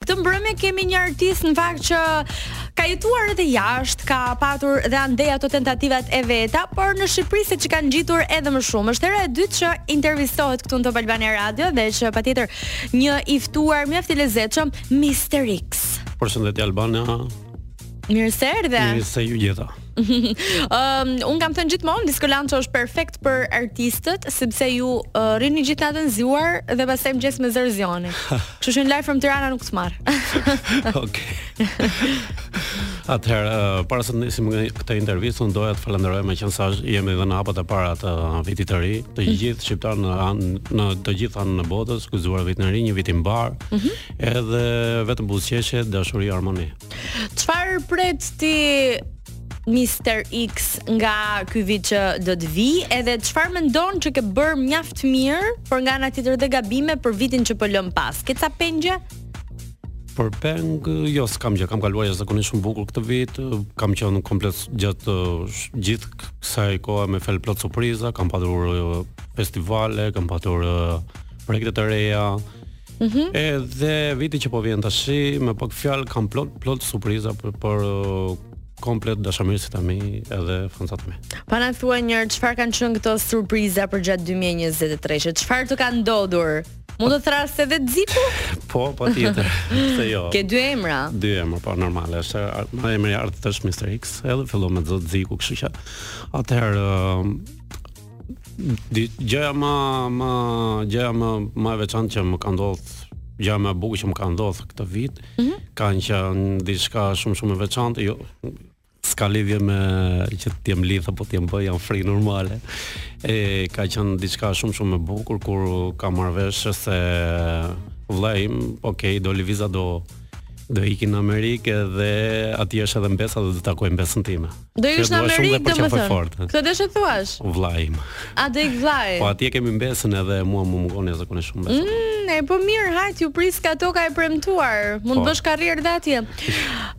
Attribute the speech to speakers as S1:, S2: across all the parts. S1: Këtë mbrëmje kemi një artist në fakt që ka jetuar edhe jashtë, ka patur dhe andej ato tentativat e veta, por në Shqipëri se që kanë ngjitur edhe më shumë. Është hera e dytë që intervistohet këtu në Top Albania Radio dhe që patjetër një i ftuar mjaft i lezetshëm Mr. X.
S2: Përshëndetje Albana,
S1: Mirë se erdhe.
S2: mirë se ju gjeta.
S1: Ëm un kam thënë gjithmonë Disco Lancho është perfekt për artistët sepse ju uh, rrini gjithë natën zjuar dhe pastaj mëngjes me zër zjoni. Kështu që në live from Tirana nuk të marr.
S2: Okej. Atëherë, eh, para se të nisim nga këtë intervistë, unë doja të falenderoj me qenë sa është- jemi dhe në hapat e para të vitit të ri, të gjithë shqiptarë në, anë- në të gjithë anën e botës, gëzuar vitin e ri, një vit i mbar, edhe vetëm buzëqeshje, dashuri, harmoni.
S1: Çfarë pret ti Mr. X nga ky vit që do të vi edhe çfarë mendon që ke bër mjaft mirë, por nga ana tjetër dhe gabime për vitin që po lëm pas. Ke ca pengje?
S2: Për peng, jo, s'kam gjë, kam kaluar jashtëzakonisht shumë bukur këtë vit, kam qenë komplet gjatë uh, sh- gjithë kësaj kohe me fel plot surpriza, kam patur uh, festivale, kam patur uh, projekte të reja. Edhe viti që po vjen tash, me pak fjalë kam plot plot surpriza për, për uh, komplet dashamirësit e mi edhe fansat e mi.
S1: Pa na thuaj një herë çfarë kanë qenë këto surpriza për gjatë 2023-shit? Çfarë të ka ndodhur? Mund të thrasë edhe Ziku?
S2: Po, po tjetër, se jo.
S1: Ke dy emra.
S2: dy emër po normale, është ar- ma emri i artit është Mr X, edhe fillon me Zot Ziku, kështu që atëherë ëm, di- gjëja më më gjëja më më e veçantë që më ka ndodhur gjëja më e bukur që më ka ndodhur këtë vit,
S1: Mhm.
S2: kanë qenë diçka shumë shumë e veçantë, jo s'ka lidhje me që të jem lidh apo të jem bë, jam free normale. E ka qenë diçka shumë shumë e bukur kur ka marrë vesh se vllai im, okay, do Liviza do do ikin në Amerikë dhe aty është edhe mbesa dhe do takoj mbesën time.
S1: Do
S2: Që
S1: ish në
S2: dua shumë dhe
S1: Amerikë,
S2: për qafoj
S1: domethënë.
S2: fort.
S1: Këtë desh e thuash.
S2: Vllai im.
S1: A do ik vllai?
S2: Po atje kemi mbesën edhe mua më mungon e zakonisht shumë mbesën.
S1: Mm, e po mirë, hajt ju pris ka toka e premtuar. Mund të
S2: Po.
S1: bësh karrierë dhe atje.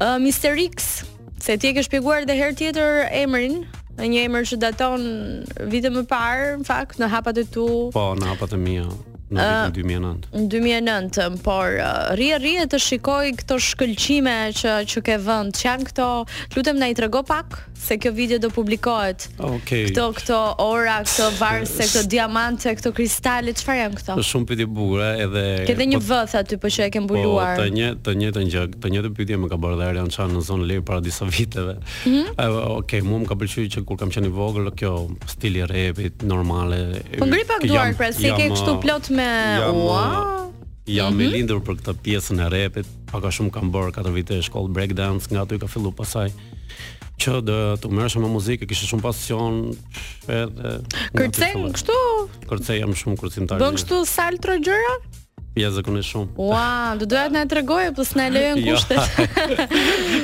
S1: Uh, Mr. X, se ti e ke shpjeguar edhe herë tjetër emrin, një emër që daton vite më parë, në fakt, në hapat e tu.
S2: Po në hapat e mia në
S1: Ah.
S2: vitin 2009.
S1: Në 2009, por uh, rje rje të shikoj këto shkëlqime që që ke vënë. Që janë këto? Lutem na i trego pak se kjo video do publikohet.
S2: Okej.
S1: Këto këto ora, këto varse, këto diamante, këto kristale, çfarë janë këto?
S2: Është shumë pyetje bukura edhe
S1: Ke dhe një
S2: po-
S1: vëth aty po që e ke mbuluar.
S2: Po, të një të njëjtën gjë, të njëjtën pyetje më ka bërë dhe Arjan Çan në zonë Lir para disa viteve. Mm
S1: Mhm.
S2: Okej, mua më ka pëlqyer që kur kam qenë i vogël kjo stili i rapit normale.
S1: Po ngri pak duar
S2: jam-
S1: pra, si ke
S2: jam,
S1: kështu
S2: uh,
S1: plot me
S2: jam,
S1: ua.
S2: uh, Jam
S1: Mhm.
S2: i lindur për këtë pjesën e rapit, pak a shumë kam bërë 4 vite shkollë breakdance, nga aty ka fillu pasaj që do të merresha me muzikë, kishe shumë pasion edhe nga aty
S1: Kërcen
S2: filloi.
S1: kështu,
S2: Kërcej jam shumë kërcimtar.
S1: bën kështu saltro gjëra?
S2: Ja zakonisht shumë.
S1: Ua, do doja të na tregoje, po s'na lejën
S2: Jo.
S1: kushtet.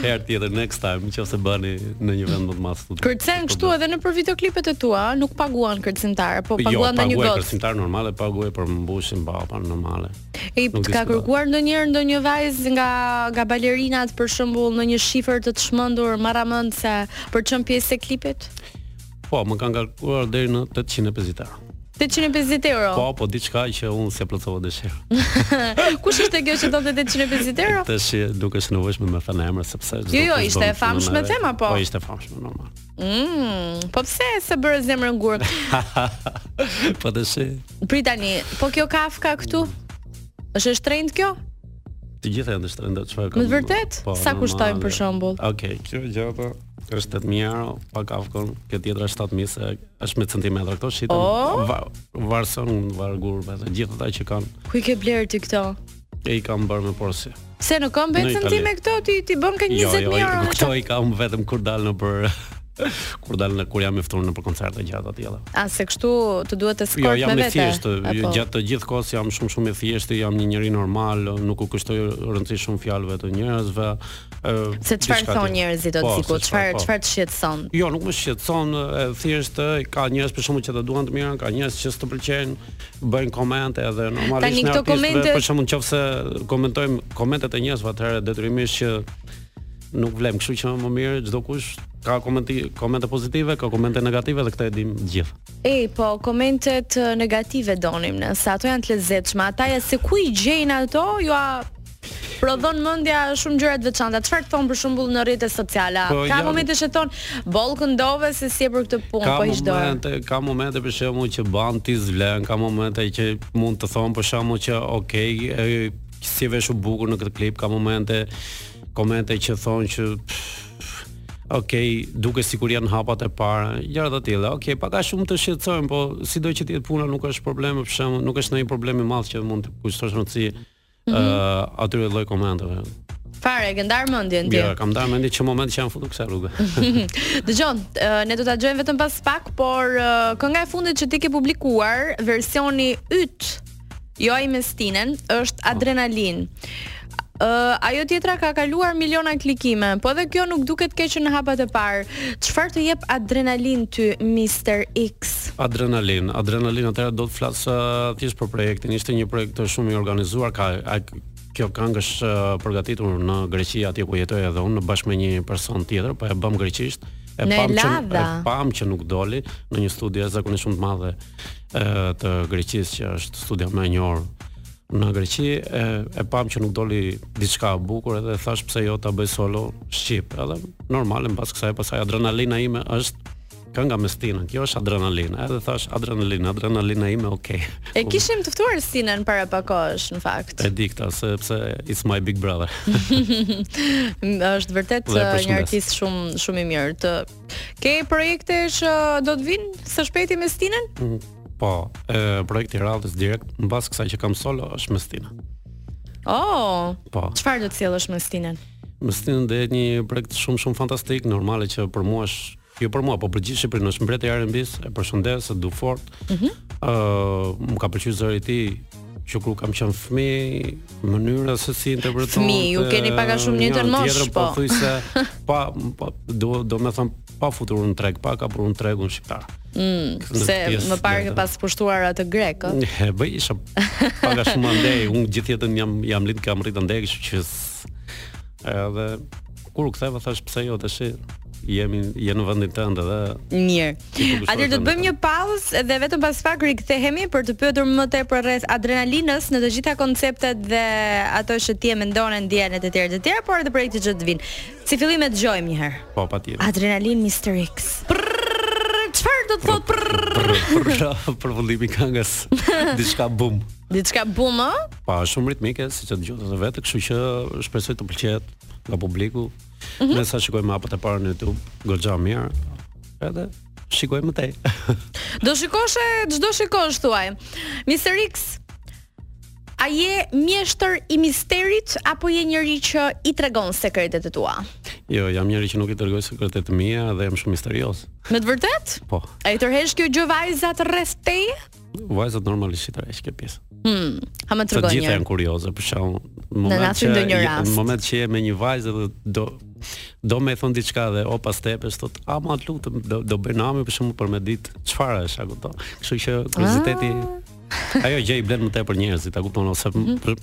S2: Herë tjetër next time, nëse bëni në një vend më të madh. Po, të-
S1: Kërcen
S2: të
S1: kështu
S2: bëni.
S1: edhe në për videoklipet e tua, nuk paguan kërcimtar, po
S2: Jo,
S1: paguan ndonjë
S2: paguaj
S1: gocë.
S2: kërcimtar normale, paguaj për mbushin baba normale.
S1: E
S2: nuk
S1: të ka
S2: diskutohet.
S1: kërkuar ndonjëherë ndonjë vajzë nga nga balerinat për shembull në një shifër të të shmendur, marra mend se për të qenë pjesë e klipit?
S2: Po, më kanë kalkuluar deri në 850 euro.
S1: 850 euro.
S2: Po, po diçka që unë s'e plotësova dëshirën.
S1: Kush ishte kjo që donte 850 euro?
S2: Tash nuk është e nevojshme me thënë emër sepse çdo
S1: Jo, jo,
S2: kush
S1: ishte
S2: bën
S1: e famshme
S2: punën e
S1: tema,
S2: vet.
S1: po.
S2: Po, ishte e famshme normal.
S1: Mm, po pse e se bërë zemrën gurë?
S2: po tash
S1: Prit tani, po kjo kafka këtu? Është e shtrenjtë kjo?
S2: të gjitha janë të shtrenjta çfarë
S1: Me të vërtet? Sa kushtojnë për shembull?
S2: jo. Okej, kjo gjata është 8000 euro, pa kafkon, kjo tjetra është 7000 se është me centimetra këto shitën.
S1: O?
S2: Va, varson vargur me të gjithë ata që kanë
S1: Ku i ke blerë ti këto?
S2: e i kam bërë me porsi.
S1: Pse në kom
S2: Në
S1: bencën
S2: Itali.
S1: ti me këto ti ti bën ka 20000
S2: Jo, jo, jo,
S1: euro.
S2: këto i kam vetëm kur dal në për kur dal në kur jam i ftuar në për koncerte gjata të tilla.
S1: A se kështu të duhet të skort
S2: Jo, jam
S1: me
S2: i
S1: vete? po.
S2: thjeshtë, jo,
S1: apo?
S2: gjatë të gjithë kohës jam shumë shumë i thjeshtë, jam një njerëz normal, nuk u kushtoj rëndësi shumë fjalëve të njerëzve. ë,
S1: Se çfarë
S2: diçka
S1: thon
S2: tjetër.
S1: njerëzit o
S2: Po,
S1: ciku,
S2: se
S1: çfarë
S2: po.
S1: çfarë të shqetëson?
S2: Jo, nuk më shqetëson, e, thjesht e, ka njerëz për shkakun që të duan të mirën, ka njerëz që s'të pëlqejnë, bëjnë komente edhe normalisht
S1: Tani
S2: ne
S1: këto
S2: artistëve,
S1: komente-
S2: për shkakun nëse komentojmë komentet e njerëzve atëherë detyrimisht që nuk vlem, kështu që më mirë çdo kush ka komenti, komente pozitive, ka komente negative dhe këtë e dim të gjithë.
S1: Ej, po komentet eh, negative donim ne, se ato janë të lezetshme. Ata ja se ku i gjejnë ato, ju a prodhon mendja shumë gjëra të veçanta. Çfarë thon për shembull në rrjetet sociale?
S2: Po,
S1: ka
S2: ja-
S1: momente që thon, "Boll këndove se si e për këtë punë, po hiç dorë."
S2: momente, ka momente për shembull që ban ti zvlen, ka momente që mund të thon për shembull që okay, e, si veshu bukur në këtë klip, ka momente komente që thonë që pff, okay, duke sikur janë hapat e para, gjëra të tilla. Okay, pak a shumë të shqetësojmë, po sido që të jetë puna nuk është problem për shembull, nuk është ndonjë problem i madh që mund të kushtosh rëndësi mm
S1: Mhm.
S2: atyre lloj komenteve.
S1: Fare, gëndar mendjen ti.
S2: Ja, kam dhënë mendje që moment që janë futur kësaj rrugë.
S1: Dëgjon, ë, ne do ta gjojmë vetëm pas pak, por ë, kënga e fundit që ti ke publikuar, versioni yt, jo ai me Stinen, është Adrenalin. Ë, ajo tjetra ka kaluar miliona klikime, po edhe kjo nuk duket keq në hapat e parë. Çfarë të jep adrenalin ty Mr X?
S2: Adrenalin, adrenalin atëherë do të flas uh, thjesht për projektin. Ishte një projekt shumë i organizuar, ka a, kjo këngë është uh, përgatitur në Greqi atje ku jetoj edhe unë bashkë me një person tjetër, po e bëm greqisht. E
S1: Në
S2: që e
S1: Lavda.
S2: pam që nuk doli në një studi e zakonisht shumë të madhe e, të Greqisë që është studia më e njohur në Greqi e, e pam që nuk doli diçka e bukur edhe thash pse jo ta bëj solo shqip. Edhe normale mbas kësaj pasaj adrenalina ime është kënga me stinën. Kjo është adrenalina. Edhe thash adrenalina, adrenalina ime, okay.
S1: E kishim të ftuar Stinen para pak kohësh në fakt.
S2: e di këtë sepse it's my big brother.
S1: M- është vërtet
S2: Dhe e
S1: uh, një
S2: përshëndes.
S1: artist shumë shumë i mirë. Të ke projekte që uh, do të vinë së shpejti me Stinen?
S2: po, e, projekti i radhës direkt mbas kësaj që kam solo është me stinën.
S1: Oh,
S2: Po.
S1: çfarë do të sjellësh me Stinen?
S2: Më stinë dhe një projekt shumë shumë fantastik, normale që për mua është jo për mua, po për gjithë Shqipërinë është mbretja e R&B-s, e përshëndes, e du fort. Ëh,
S1: Mhm.
S2: mm më ka pëlqyer zëri i tij që kur kam qenë fëmijë, mënyra se si interpreton.
S1: Fëmijë, ju keni pak a shumë njëjtën moshë, po.
S2: po. Pothuajse pa, pa do do të them pa futur në treg, pa kapur në tregun shqiptar. Mm,
S1: Se më parë ke pas pushtuar atë grek, ë?
S2: E bëj isha paga shumë andej, unë gjithë jetën jam jam lind kam rrit andej, kështu që s- edhe kur u ktheva thash pse jo tash jemi je në vendin tënd edhe
S1: Mirë.
S2: Ti po
S1: Atëherë do të bëjmë një pauzë dhe vetëm pas pak rikthehemi për të pyetur më tepër rreth adrenalinës në të gjitha konceptet dhe ato që ti e mendon, ndjen e të tjerë të tjerë, por edhe projekte që të vinë. Si fillim e dëgjojmë një herë.
S2: po patjetër.
S1: Adrenalin Mr X. Prrrr, Çfarë do të thotë prrrr?
S2: Për për- për vëllimi këngës diçka bum.
S1: Diçka bum, ë?
S2: Pa shumë ritmike, siç e dëgjova edhe vetë, kështu që shpresoj të pëlqejë nga publiku. Mm -hmm. Ne sa shikojmë hapët e para në YouTube, goxha mirë. Edhe shikojmë më tej.
S1: Do shikosh e çdo shikosh thuaj. Mr X A je mjeshtër i misterit apo je njëri që i tregon sekretet e tua?
S2: jo, jam njëri që nuk i dërgoj sekretet e mia dhe jam shumë misterioz.
S1: Me të vërtet?
S2: Po,
S1: A i tërhesh kjo gjë vajzat rreth teje?
S2: vajzat normalisht i tërheq kjo pjesë.
S1: Ha më
S2: Të
S1: tregoj
S2: gjitha
S1: një.
S2: janë kurioze, për shembull, në
S1: natën
S2: që
S1: ndonjë
S2: je-
S1: rast.
S2: në moment që je me një vajzë dhe do do më thon diçka dhe o pas tepes thot, "A ma të lutem, do do bëj nami për shembull për me ditë çfarë është, a kupton?" Kështu që kurioziteti ajo gjë i blen më tepër njerëzit, a kupton ose për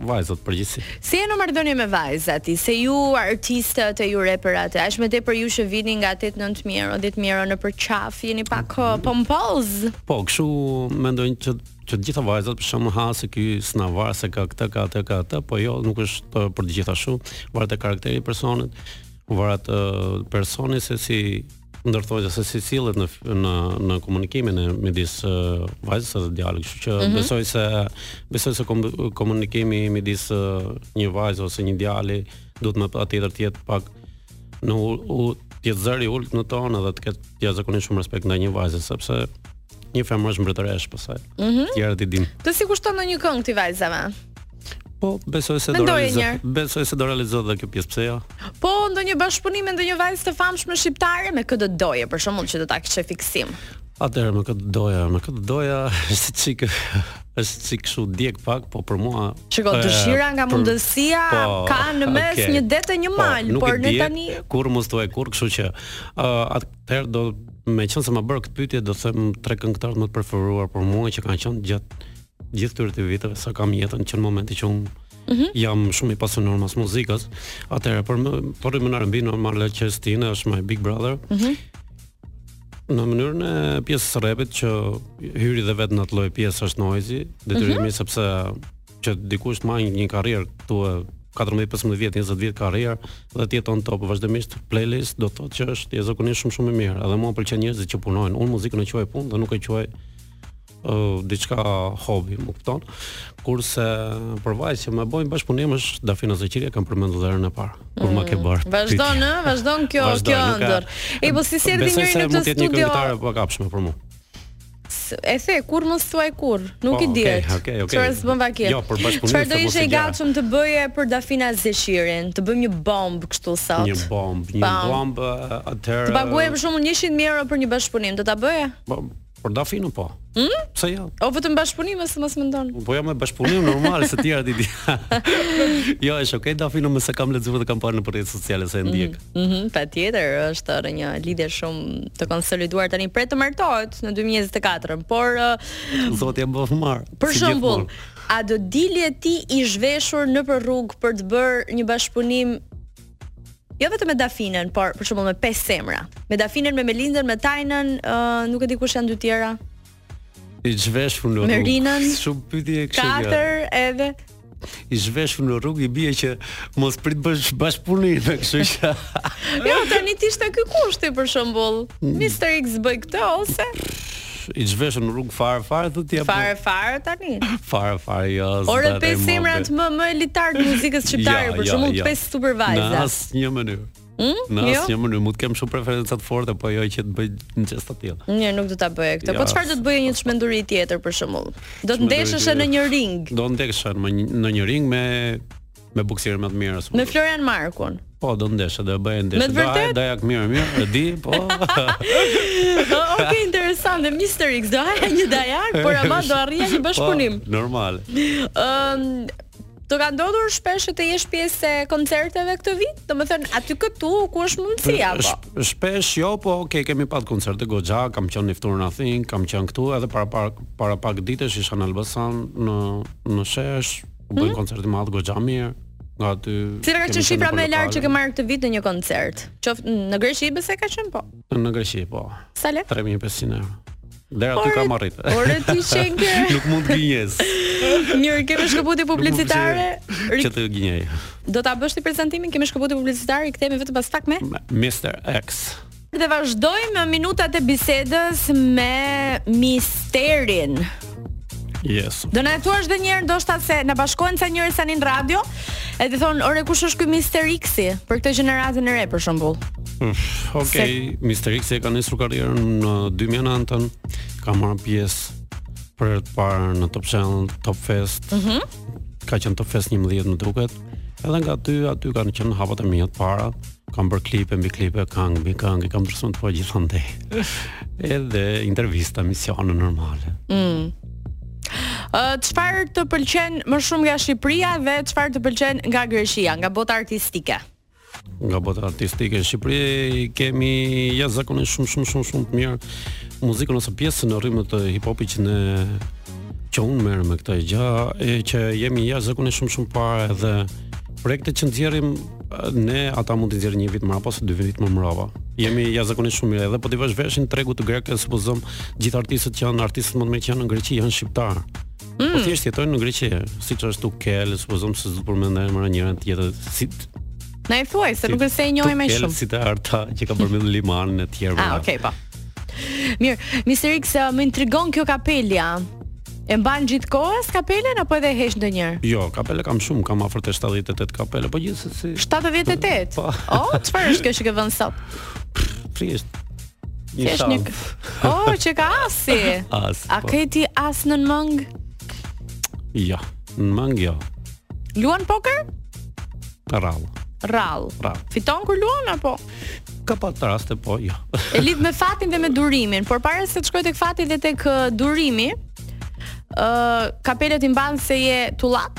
S2: vajzat përgjithësi.
S1: Si e në marrëdhënie me vajzat? i? Se ju artistët e ju reperat, a është më tepër ju që vini nga 8-9 mijë, 10 mijë në për qaf, jeni pak uh, pompoz.
S2: Po, kështu mendojnë që që të gjitha vajzat për shembull ha se ky s'na var se ka këtë, ka atë, ka atë, po jo, nuk është për të gjitha ashtu. Varet e karakteri i personit, varet e personi se si ndërthohet se si sillet në në në komunikimin e midis e, vajzës dhe djalit, kështu që besoj se besoj se kom- komunikimi midis e, një vajze ose një djali duhet më patjetër të jetë pak në u, u të jetë zëri ult në tonë edhe të ketë të jetë zakonisht shumë respekt ndaj një vajze sepse një femër është mbretëresh pasaj. Mm
S1: Mhm.
S2: -hmm. Tjerët i dim.
S1: Të si kushton në një këngë këtij vajzave?
S2: Po, besoj se do
S1: Mendoje
S2: realizohet.
S1: njëherë.
S2: Besoj se do realizohet edhe kjo pjesë, pse jo?
S1: Po ndonjë bashkëpunim me ndonjë vajzë të famshme shqiptare me këtë doje për shembull që do ta kishe fiksim.
S2: Atëherë me këtë doja, me këtë doja është çik është çik kështu djeg pak, po për mua
S1: Shiko,
S2: e,
S1: dëshira nga
S2: për- po,
S1: mundësia ka në mes
S2: okay. Po,
S1: një det e një mal,
S2: nuk
S1: por
S2: e
S1: ne
S2: di
S1: tani
S2: kur mos thuaj kur, kështu që uh, atëherë do me qenë se më bërë këtë pyetje do them tre këngëtarët më të preferuar për mua që kanë qenë gjatë gjithë këtyre të viteve sa kam jetën që në momentin që unë
S1: Mhm.
S2: jam shumë i pasionuar mas muzikës. Atëherë për më, për më në R&B normale që Stina është my big brother.
S1: Mhm.
S2: Në mënyrën e pjesës së repit që hyri dhe vetë në
S1: Mhm.
S2: atë lloj pjesë është noizi, detyrimi sepse që dikush të marrë një karrierë këtu e 14, 15 vjet, 20 vjet karrierë dhe të jeton top vazhdimisht playlist do të thotë që është e zakonisht shumë shumë e mirë. Edhe mua më pëlqen njerëzit që punojnë. Unë muzikën e quaj punë dhe nuk e quaj uh, diçka hobi, më kupton? Kurse përvajs që më bojnë bashkëpunim është Dafina Zeqiria kam përmendur dhe herën e parë kur ma ke bërë.
S1: Mm, Vazhdon,
S2: pyetje.
S1: ë, vazhdon kjo
S2: Vazhdon,
S1: kjo
S2: nuk ka-
S1: ëndër. E po si sjerdhi
S2: Besoj se
S1: njëri në
S2: mund
S1: këtë
S2: jetë një
S1: studio?
S2: këngëtare pa kapshme për mua.
S1: S- E the kur mos thuaj kur, nuk
S2: Po,
S1: i diet.
S2: okej, okej, okej.
S1: Çfarë s'bën vakit.
S2: Jo, për bashkëpunim
S1: Çfarë do
S2: se mos
S1: ishte
S2: i
S1: i
S2: gjaja.
S1: gatshëm të bëje për Dafina Zeshirin, të bëjmë një bomb kështu sot.
S2: Një bombë, një
S1: Pam.
S2: bombë eh, ë, atëherë.
S1: Të paguajmë për shembull 100.000 euro për një bashkëpunim, do ta bëje?
S2: Po, për Dafinën po.
S1: Hmm?
S2: Hm? Pse jo?
S1: O vetëm bashkëpunim ose mos mendon?
S2: Po jam me bashkëpunim normal se tjera ti di. jo, është okay Dafinën, më se kam lexuar dhe kam parë në rrjetet sociale se e ndjek.
S1: Mhm, patjetër, është edhe një lidhje shumë të konsoliduar tani pret të martohet në 2024, por ë,
S2: Zoti e bëf marr.
S1: Hmm. për
S2: si
S1: shembull,
S2: gjithmonë.
S1: a do dilje ti i zhveshur në për rrugë për të bërë një bashkëpunim jo vetëm me Dafinën, por për shembull me pesë emra. Me Dafinën, me Melindën, me Tajnën, ë, nuk e di kush janë dy tjera.
S2: i zhveshur në rrugë.
S1: Merinën,
S2: Shumë pyetje kështu. Katër.
S1: Katër edhe
S2: I zhveshur në rrugë i bie që mos prit bësh bashkëpunim, kështu që
S1: Jo, tani ti ishte ky kushti për shembull.
S2: Mm.
S1: Mr X bëj këtë ose
S2: i zhveshur në rrugë fare fare thotë ti apo
S1: fare fare tani.
S2: fare fare jo.
S1: Ore
S2: s'bëhet
S1: pesë
S2: e
S1: emrat
S2: mobe.
S1: më më elitar të muzikës shqiptare,
S2: Ja,
S1: për
S2: ja,
S1: shembull
S2: ja.
S1: pesë super
S2: Në
S1: vajza.
S2: asnjë mënyrë.
S1: Hm?
S2: Në
S1: Jo?
S2: asnjë mënyrë mund të kem shumë preferenca të forta, po jo që të bëj në çështë të tillë.
S1: Një nuk do ta bëje këtë. Po
S2: Ja,
S1: çfarë do të bëje një çmenduri tjetër për shembull? Do të ndeshësh në një ring
S2: Do ndeshën më një- në një ring me me buksirën më të mirë. s'mund
S1: me
S2: të-
S1: Florian Markun.
S2: Po, do ndesh, do bëj ndesh.
S1: Me të vërtet?
S2: Da, jak mirë, mirë, e di, po.
S1: Oh, ok, interesante. Mr X do haja një dajak, por ama do arrija një bashkëpunim.
S2: Po, normal.
S1: Ëm Do ka ndodhur shpesh që të jesh pjesë e koncerteve këtë vit? Domethënë aty këtu ku është mundësia po.
S2: Sh- Shpesh jo, po, okay, kemi pat koncerte goxha, kam qenë në Fturna Think, kam qenë këtu edhe para pak para pak ditësh isha në Elbasan në në Shesh, u bën koncert i madh goxha mirë. Nga aty.
S1: Mhm. Cila ka
S2: kemi
S1: qenë
S2: qenë
S1: shifra
S2: në
S1: më e lartë që
S2: Portokale.
S1: ke marrë këtë vit në një koncert? Qoftë në Greqi bese ka qenë po.
S2: Në Greqi, po.
S1: Sa le?
S2: 3500 euro. Dera aty
S1: Ore-
S2: kam arrit.
S1: Ore ti qenke.
S2: Nuk mund të gënjes.
S1: Mirë, kemi shkëputje publicitare.
S2: Që
S1: Ri-
S2: të gënjej.
S1: Do ta bësh ti prezantimin, kemi shkëputje publicitare, i kthehemi vetëm pas pak me.
S2: Mr. X.
S1: Dhe vazhdojmë me minutat e bisedës me misterin.
S2: Yes.
S1: Do na e thuash edhe një herë ndoshta se na bashkohen sa njerëz tani në radio, e ti thon, "Ore kush është ky Mister X-i për këtë gjeneratën e re për shembull?"
S2: Uf, Okej, Mr. X e ka nisur karrierën në 2009-ën, ka marrë pjesë për herë të parë në Top Channel, Top Fest. Ka qenë Top Fest 11 më duket. Edhe nga aty aty kanë qenë hapat e mia të para. Kam bërë klipe mbi klipe, këngë mbi këngë, i kam ndërsuar të po gjithandej. Edhe intervista, misione normale.
S1: Ë, Çfarë të pëlqen më shumë nga Shqipëria dhe çfarë të pëlqen nga Greqia, nga bota artistike?
S2: nga bota artistike në Shqipëri kemi jashtëzakonisht shumë shumë shumë shumë të mirë muzikën ose pjesën në rrymë të hip hopit që ne që unë merrem me këtë gjë e që jemi jashtëzakonisht shumë shumë parë dhe projektet që nxjerrim ne ata mund të nxjerrin një vit mbrapa ose dy vit më mbrapa. Jemi jashtëzakonisht shumë mirë edhe po ti vesh veshin tregut të grek e supozojm gjithë artistët që janë artistët më të mirë që janë në Greqi janë shqiptarë. Po thjesht jetojnë në Greqi, siç është Ukel, supozojm se do të përmendë emra njëra tjetër, si
S1: Na i thuaj se nuk është se e njohim më
S2: Tukel,
S1: shumë.
S2: Si të arta që ka përmendur limanin e tjerë.
S1: Ah, okay, po. Mirë, Mr. X ë, më intrigon kjo kapelja. E mban gjithkohës kapelen apo edhe e hesh ndonjëherë?
S2: Jo, kapele kam shumë, kam afër të 78 kapele, po gjithsesi
S1: 78.
S2: Po.
S1: Oh, çfarë është kjo që ke vënë sot?
S2: thjesht.
S1: Thjesht një
S2: shavë.
S1: Oh, që ka asi.
S2: As.
S1: A
S2: po.
S1: ke ti as në mëng?
S2: Jo, në mang jo.
S1: Luan poker?
S2: Rall.
S1: Rall.
S2: Rall.
S1: Fiton kur luan apo?
S2: Ka pas raste po, jo.
S1: E lidh me fatin dhe me durimin, por para se të shkoj tek fati dhe tek ë, durimi, ë kapelet i mban se je tullac.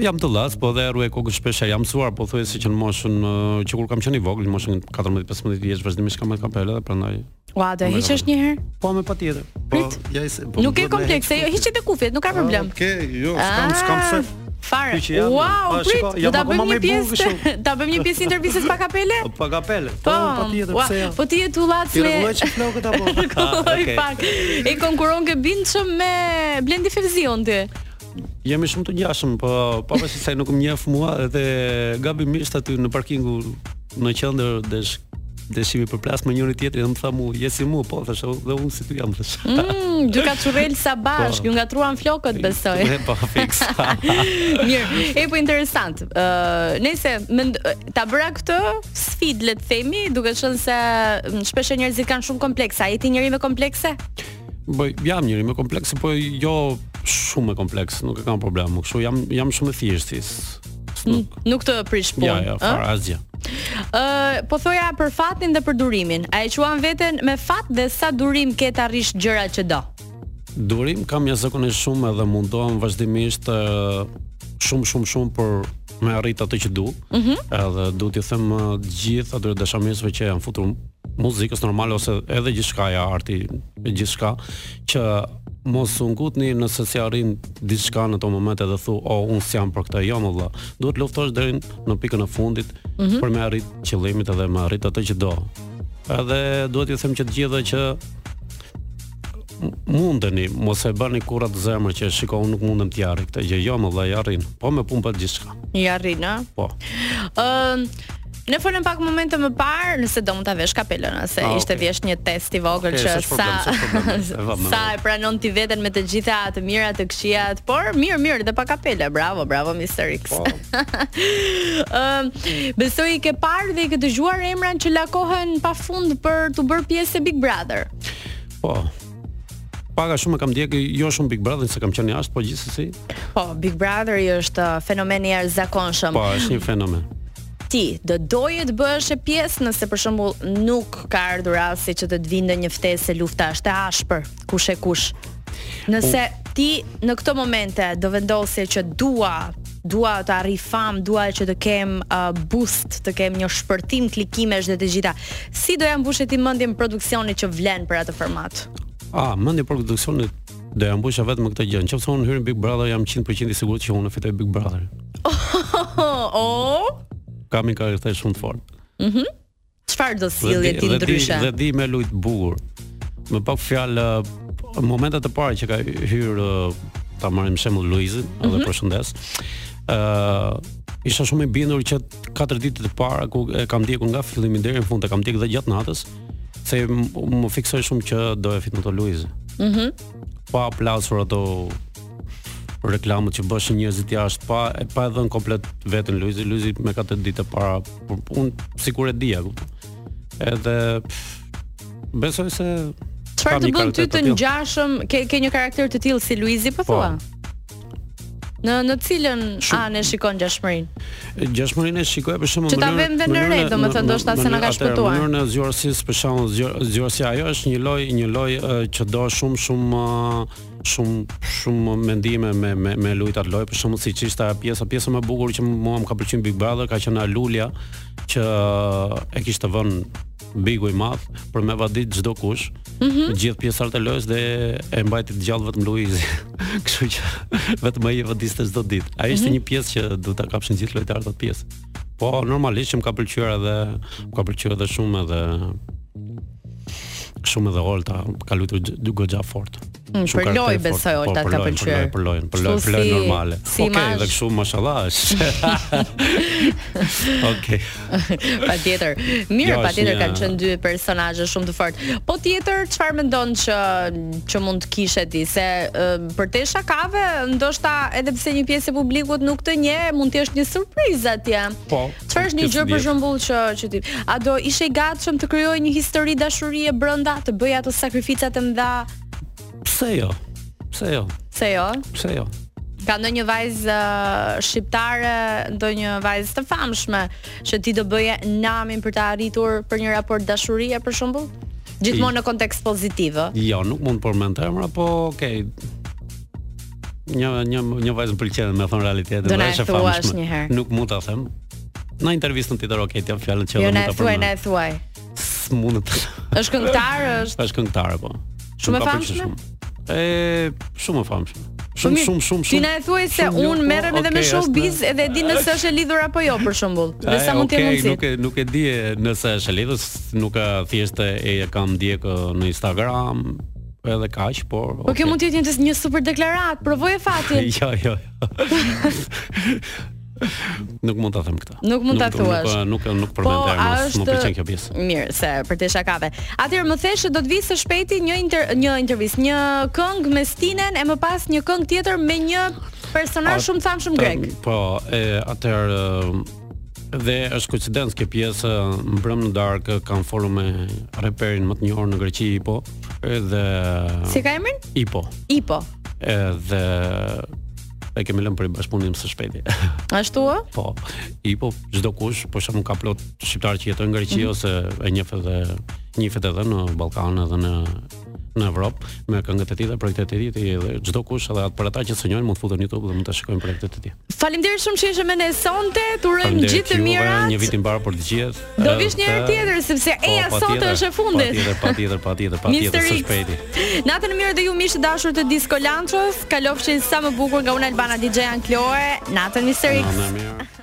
S2: jam të llas, po dhe rruaj kokën shpesh jam mësuar, po thuajse që në moshën ë, që kur kam qenë i vogël, në moshën 14-15 vjeç vazhdimisht kam marrë kapele dhe prandaj
S1: Ua, do e hiqesh një herë?
S2: Po me patjetër. Po,
S1: Prit.
S2: ja se.
S1: Nuk e komplekse, jo hiqet e kufjet, nuk ka problem.
S2: Ah, Okej, jo, s'kam s'kam
S1: Ah,
S2: se.
S1: Fare.
S2: Ky që jam,
S1: Wow,
S2: pa,
S1: prit.
S2: shiko,
S1: Do
S2: jam
S1: ta
S2: akoma
S1: bëjmë
S2: më
S1: një
S2: i bukur
S1: pjesë,
S2: kështu.
S1: ta bëjmë një pjesë intervistës pa kapele?
S2: Po kapele. Po,
S1: Po,
S2: patjetër,
S1: ua,
S2: pse jo?
S1: Po ti je tullac me
S2: flokët apo? Ah,
S1: Kulloj pak. E konkuron ke bindshëm me Blendi Fevzion ti.
S2: Jemi shumë të ngjashëm, po pavarësisht se nuk më njeh mua edhe gabimisht aty në parkingu në qendër desh deshimi përplas me njëri tjetrin, dhe më tha mua, "Je si mua", po thash, "O, dhe unë si ty jam thash.
S1: Mm, dy kaçurrel sa
S2: Po.
S1: bashk, ju ngatruan flokët besoj.
S2: E, Po fix.
S1: Mirë, e po interesant. Ë, nëse mend ta bëra këtë sfid le të themi, duke qenë se mm, shpesh njerëzit kanë shumë komplekse. A jeti njëri me komplekse?
S2: Po jam njëri më kompleks, po jo shumë e kompleks, nuk e kam problem. Kështu jam jam shumë e thjeshtë. s- s- Nuk,
S1: Nuk të prish punë.
S2: ja, ja, fare asgjë.
S1: Ë, po thoja për fatin dhe për durimin. A e quan veten me fat dhe sa durim ke të arrish gjërat që do?
S2: Durim kam jashtëzakonisht shumë edhe mundohem vazhdimisht ë, shumë shumë shumë për me arrit atë që du. Edhe du t'i them ë, të gjithë atyre dashamirësve që janë futur muzikës normale ose edhe gjithçka ja arti gjithçka që mos u ngutni nëse si arrin diçka në ato momente dhe thu o unë s'jam për këtë jo më vëlla. Duhet luftosh deri në pikën e fundit për me arrit qëllimit edhe me arrit atë që do. Edhe duhet t'ju them që të gjithëve që mundeni, mos e bëni kurrë të zemër që shiko unë nuk mundem të jarri këtë gjë. Jo, më vëllai arrin. Po me punë pa gjithçka.
S1: I arrin, ë?
S2: Po.
S1: Ëm Në folëm pak momente më parë, nëse do mund ta vesh kapelën ose
S2: Ah,
S1: ishte
S2: okay.
S1: thjesht një test i vogël
S2: Okay,
S1: që
S2: s'është problem, s'është problem. E vëmë, e
S1: sa
S2: vëmë.
S1: e pranon ti veten me të gjitha të mirat, të këqijat, por mirë, mirë dhe pa kapele. Bravo, bravo Mr. X.
S2: Po.
S1: Ëm besoj i ke parë dhe i ke dëgjuar emran që lakohen pafund për të bërë pjesë e Big Brother.
S2: Po. Paga shumë e kam djegë, jo shumë Big Brother se kam qenë jashtë, po gjithsesi,
S1: Po, Big Brother i është uh, fenomen i jashtëzakonshëm.
S2: po është një fenomen.
S1: ti do doje të bëhesh e pjesë nëse për shembull nuk ka ardhur rasti që të të vinë një ftesë se lufta është e ashpër, kush e kush. Nëse ti në këto momente do vendose që dua dua të arri fam, dua që të kem uh, boost, të kem një shpërtim klikimesh dhe të gjitha. Si do ja mbushe ti mendjen produksionit që vlen për atë format?
S2: A, mendje për produksionin do ja mbusha vetëm me këtë gjë. Nëse unë hyr në Big Brother jam 100% i sigurt që unë e fitoj Big Brother.
S1: Oh, oh,
S2: Kam një karakter shumë të fortë.
S1: çfarë do
S2: Dhe
S1: sillje
S2: di-
S1: ti
S2: dhe di-
S1: ndryshe?
S2: Dhe di me lujt bukur. Më pak fjalë ë, momentet e para që ka hyrë ë, ta marrim shembull Luizin, edhe
S1: Mhm.
S2: përshëndes. ë isha shumë i bindur që katër ditët e para ku e kam ndjekur nga fillimi deri në fund, e kam ndjekur dhe gjatë natës, se m- më fiksoj shumë që do e fitnë të Luizi. Mhm. pa aplasur ato reklamët që bëshin njerëzit jashtë pa e pa e dhënë komplet veten Luizi, Luizi me katër ditë e para, por un sikur e dija, kupton. Edhe pff, besoj se
S1: Çfarë
S2: kam
S1: të bën
S2: një
S1: ty
S2: karakter
S1: të
S2: tillë.
S1: ngjashëm? Ke ke një karakter të tillë si Luizi, po thua? Në në cilën
S2: Shumë.
S1: anë e shikon gjashmërinë?
S2: Gjashmërinë e shikoj për shembull
S1: Që ta vëmë
S2: mënyrën-
S1: dhe në re,
S2: mënyrën e-
S1: domethënë,
S2: më-
S1: ndoshta se
S2: më-
S1: na ka
S2: atëherë,
S1: shpëtuar.
S2: Mënyrën e zgjuarësisë për shembull, zgjuar- zgjuarësia ajo është një loj, një loj ë, që do shumë shumë ë, shumë shumë mendime me me me lojtat loj, për shembull siç ishte ajo pjesa, pjesa më e bukur që mua më ka pëlqyer Big Brother ka qenë Alulia që e kishte vënë Bigu i madh për me vadit çdo kush. Gjithë pjesëtarët e lojës dhe e mbajti të gjallë vetëm Luizi. Kështu që vetëm ai e vadiste çdo ditë. Ai ishte një pjesë që do ta kapshin gjithë lojtarët atë pjesë. Po, normalisht që më ka pëlqyer edhe më ka pëlqyer edhe shumë edhe shumë edhe Olta ka luajtur gj- dy goxha fort.
S1: Mm,
S2: Shumë
S1: për
S2: karakter
S1: lojë
S2: fort.
S1: besoj
S2: Po,
S1: Olta
S2: për
S1: ka
S2: lojë,
S1: pëlqyer.
S2: Për lojën, për
S1: Kështu
S2: lojën, për lojën
S1: si-
S2: normale.
S1: si
S2: Okej,
S1: imazh.
S2: dhe kështu mashallah. është. Okej.
S1: Patjetër. Mirë,
S2: Jo, është
S1: patjetër
S2: një-
S1: kanë qenë dy personazhe shumë të fortë. Po tjetër, çfarë mendon që që mund të kishe ti se ë, për te shakave, ndoshta edhe pse një pjesë e publikut nuk të njeh, mund të jesh një surprizë atje.
S2: Po.
S1: Çfarë është një
S2: kjo
S1: gjë për
S2: s'dihet.
S1: shembull që që ti, a do ishe i gatshëm të krijoj një histori dashurie brenda, të bëj ato sakrifica të mëdha?
S2: Pse jo? Pse jo?
S1: Se jo?
S2: Pse jo?
S1: Ka ndonjë vajzë ë, shqiptare, ndonjë vajzë të famshme që ti do bëje namin për të arritur për një raport dashurie për shembull? Gjithmonë në kontekst pozitiv. ë?
S2: Jo, nuk mund të përmend emra, po okay. Një një një vajzë më pëlqen me thon realitetin,
S1: Do na
S2: dhe është e
S1: thuash
S2: famshme.
S1: një herë.
S2: Nuk mund ta them. Në intervistën tjetër, okay, t'jap fjalën që
S1: Jo
S2: edhe
S1: na
S2: mund
S1: e
S2: ta
S1: thuaj, na
S2: përmend.
S1: e thuaj.
S2: S'mund të.
S1: Është këngëtar, është
S2: Është këngëtare po.
S1: Shumë e
S2: ka pëlqyer
S1: famshme?
S2: shumë. E shumë e famshme.
S1: Po
S2: Shumë
S1: mirë,
S2: shumë shumë shumë.
S1: Ti na e thuaj se
S2: shumë jo,
S1: unë
S2: po,
S1: merrem edhe me
S2: okay,
S1: showbiz
S2: është-
S1: edhe e di nëse është e lidhur apo jo për shembull. Dhe
S2: Ai,
S1: sa mund të jetë
S2: okay,
S1: mundësi.
S2: Nuk e nuk e di nëse është e lidhur, s- nuk e thjesht e e kam ndjek ë, në Instagram, edhe kaq, por
S1: Po kjo mund të jetë një- një super deklarat, provoje fatin.
S2: Jo, jo, jo. nuk mund ta them këtë.
S1: Nuk mund ta thuash.
S2: Nuk nuk nuk
S1: Po,
S2: përmend po,
S1: a
S2: emrin,
S1: është
S2: nuk pëlqen kjo pjesë.
S1: Mirë, se për te shakave. Atëherë më theshë do të vi së shpejti një inter, një intervistë, një këngë me Stinen e më pas një këngë tjetër me një personazh shumë thamshëm grek.
S2: Të- Po, e atëherë dhe është koincidencë kjo pjesë mbrëm në darkë kam folur me reperin më të njohur në Greqi Ipo edhe
S1: Si ka emrin?
S2: Ipo
S1: Ipo.
S2: edhe e kemi lënë për i bashkëpunim së shpejti.
S1: Ashtu ë?
S2: po, Ipo çdo kush, për shembull ka plot shqiptar që jetojnë në Greqi
S1: Mhm.
S2: ose e njeh edhe njihet edhe në Ballkan edhe në në Evropë me këngët e tij dhe projektet e tij dhe çdo kush edhe atë për ata që sënjojnë mund të futen në YouTube dhe mund ta shikojnë projektet e tij.
S1: Faleminderit shumë që ishe me ne sonte. Të urojmë
S2: Faleminderit
S1: gjithë të
S2: juve,
S1: mirat.
S2: Një vit i mbar për të gjithë.
S1: Do vish një herë
S2: Edhe-
S1: tjetër sepse
S2: Po,
S1: eja sot
S2: patjetër,
S1: është e fundit.
S2: Patjetër, patjetër, patjetër, patjetër
S1: Mr.
S2: së
S1: X.
S2: shpejti.
S1: Natën e mirë dhe ju mish të dashur të Disco Lanchos. Kalofshin sa më bukur nga Unë Albana DJ Ankloe. Natën Mr. X.
S2: Na, na, mirë.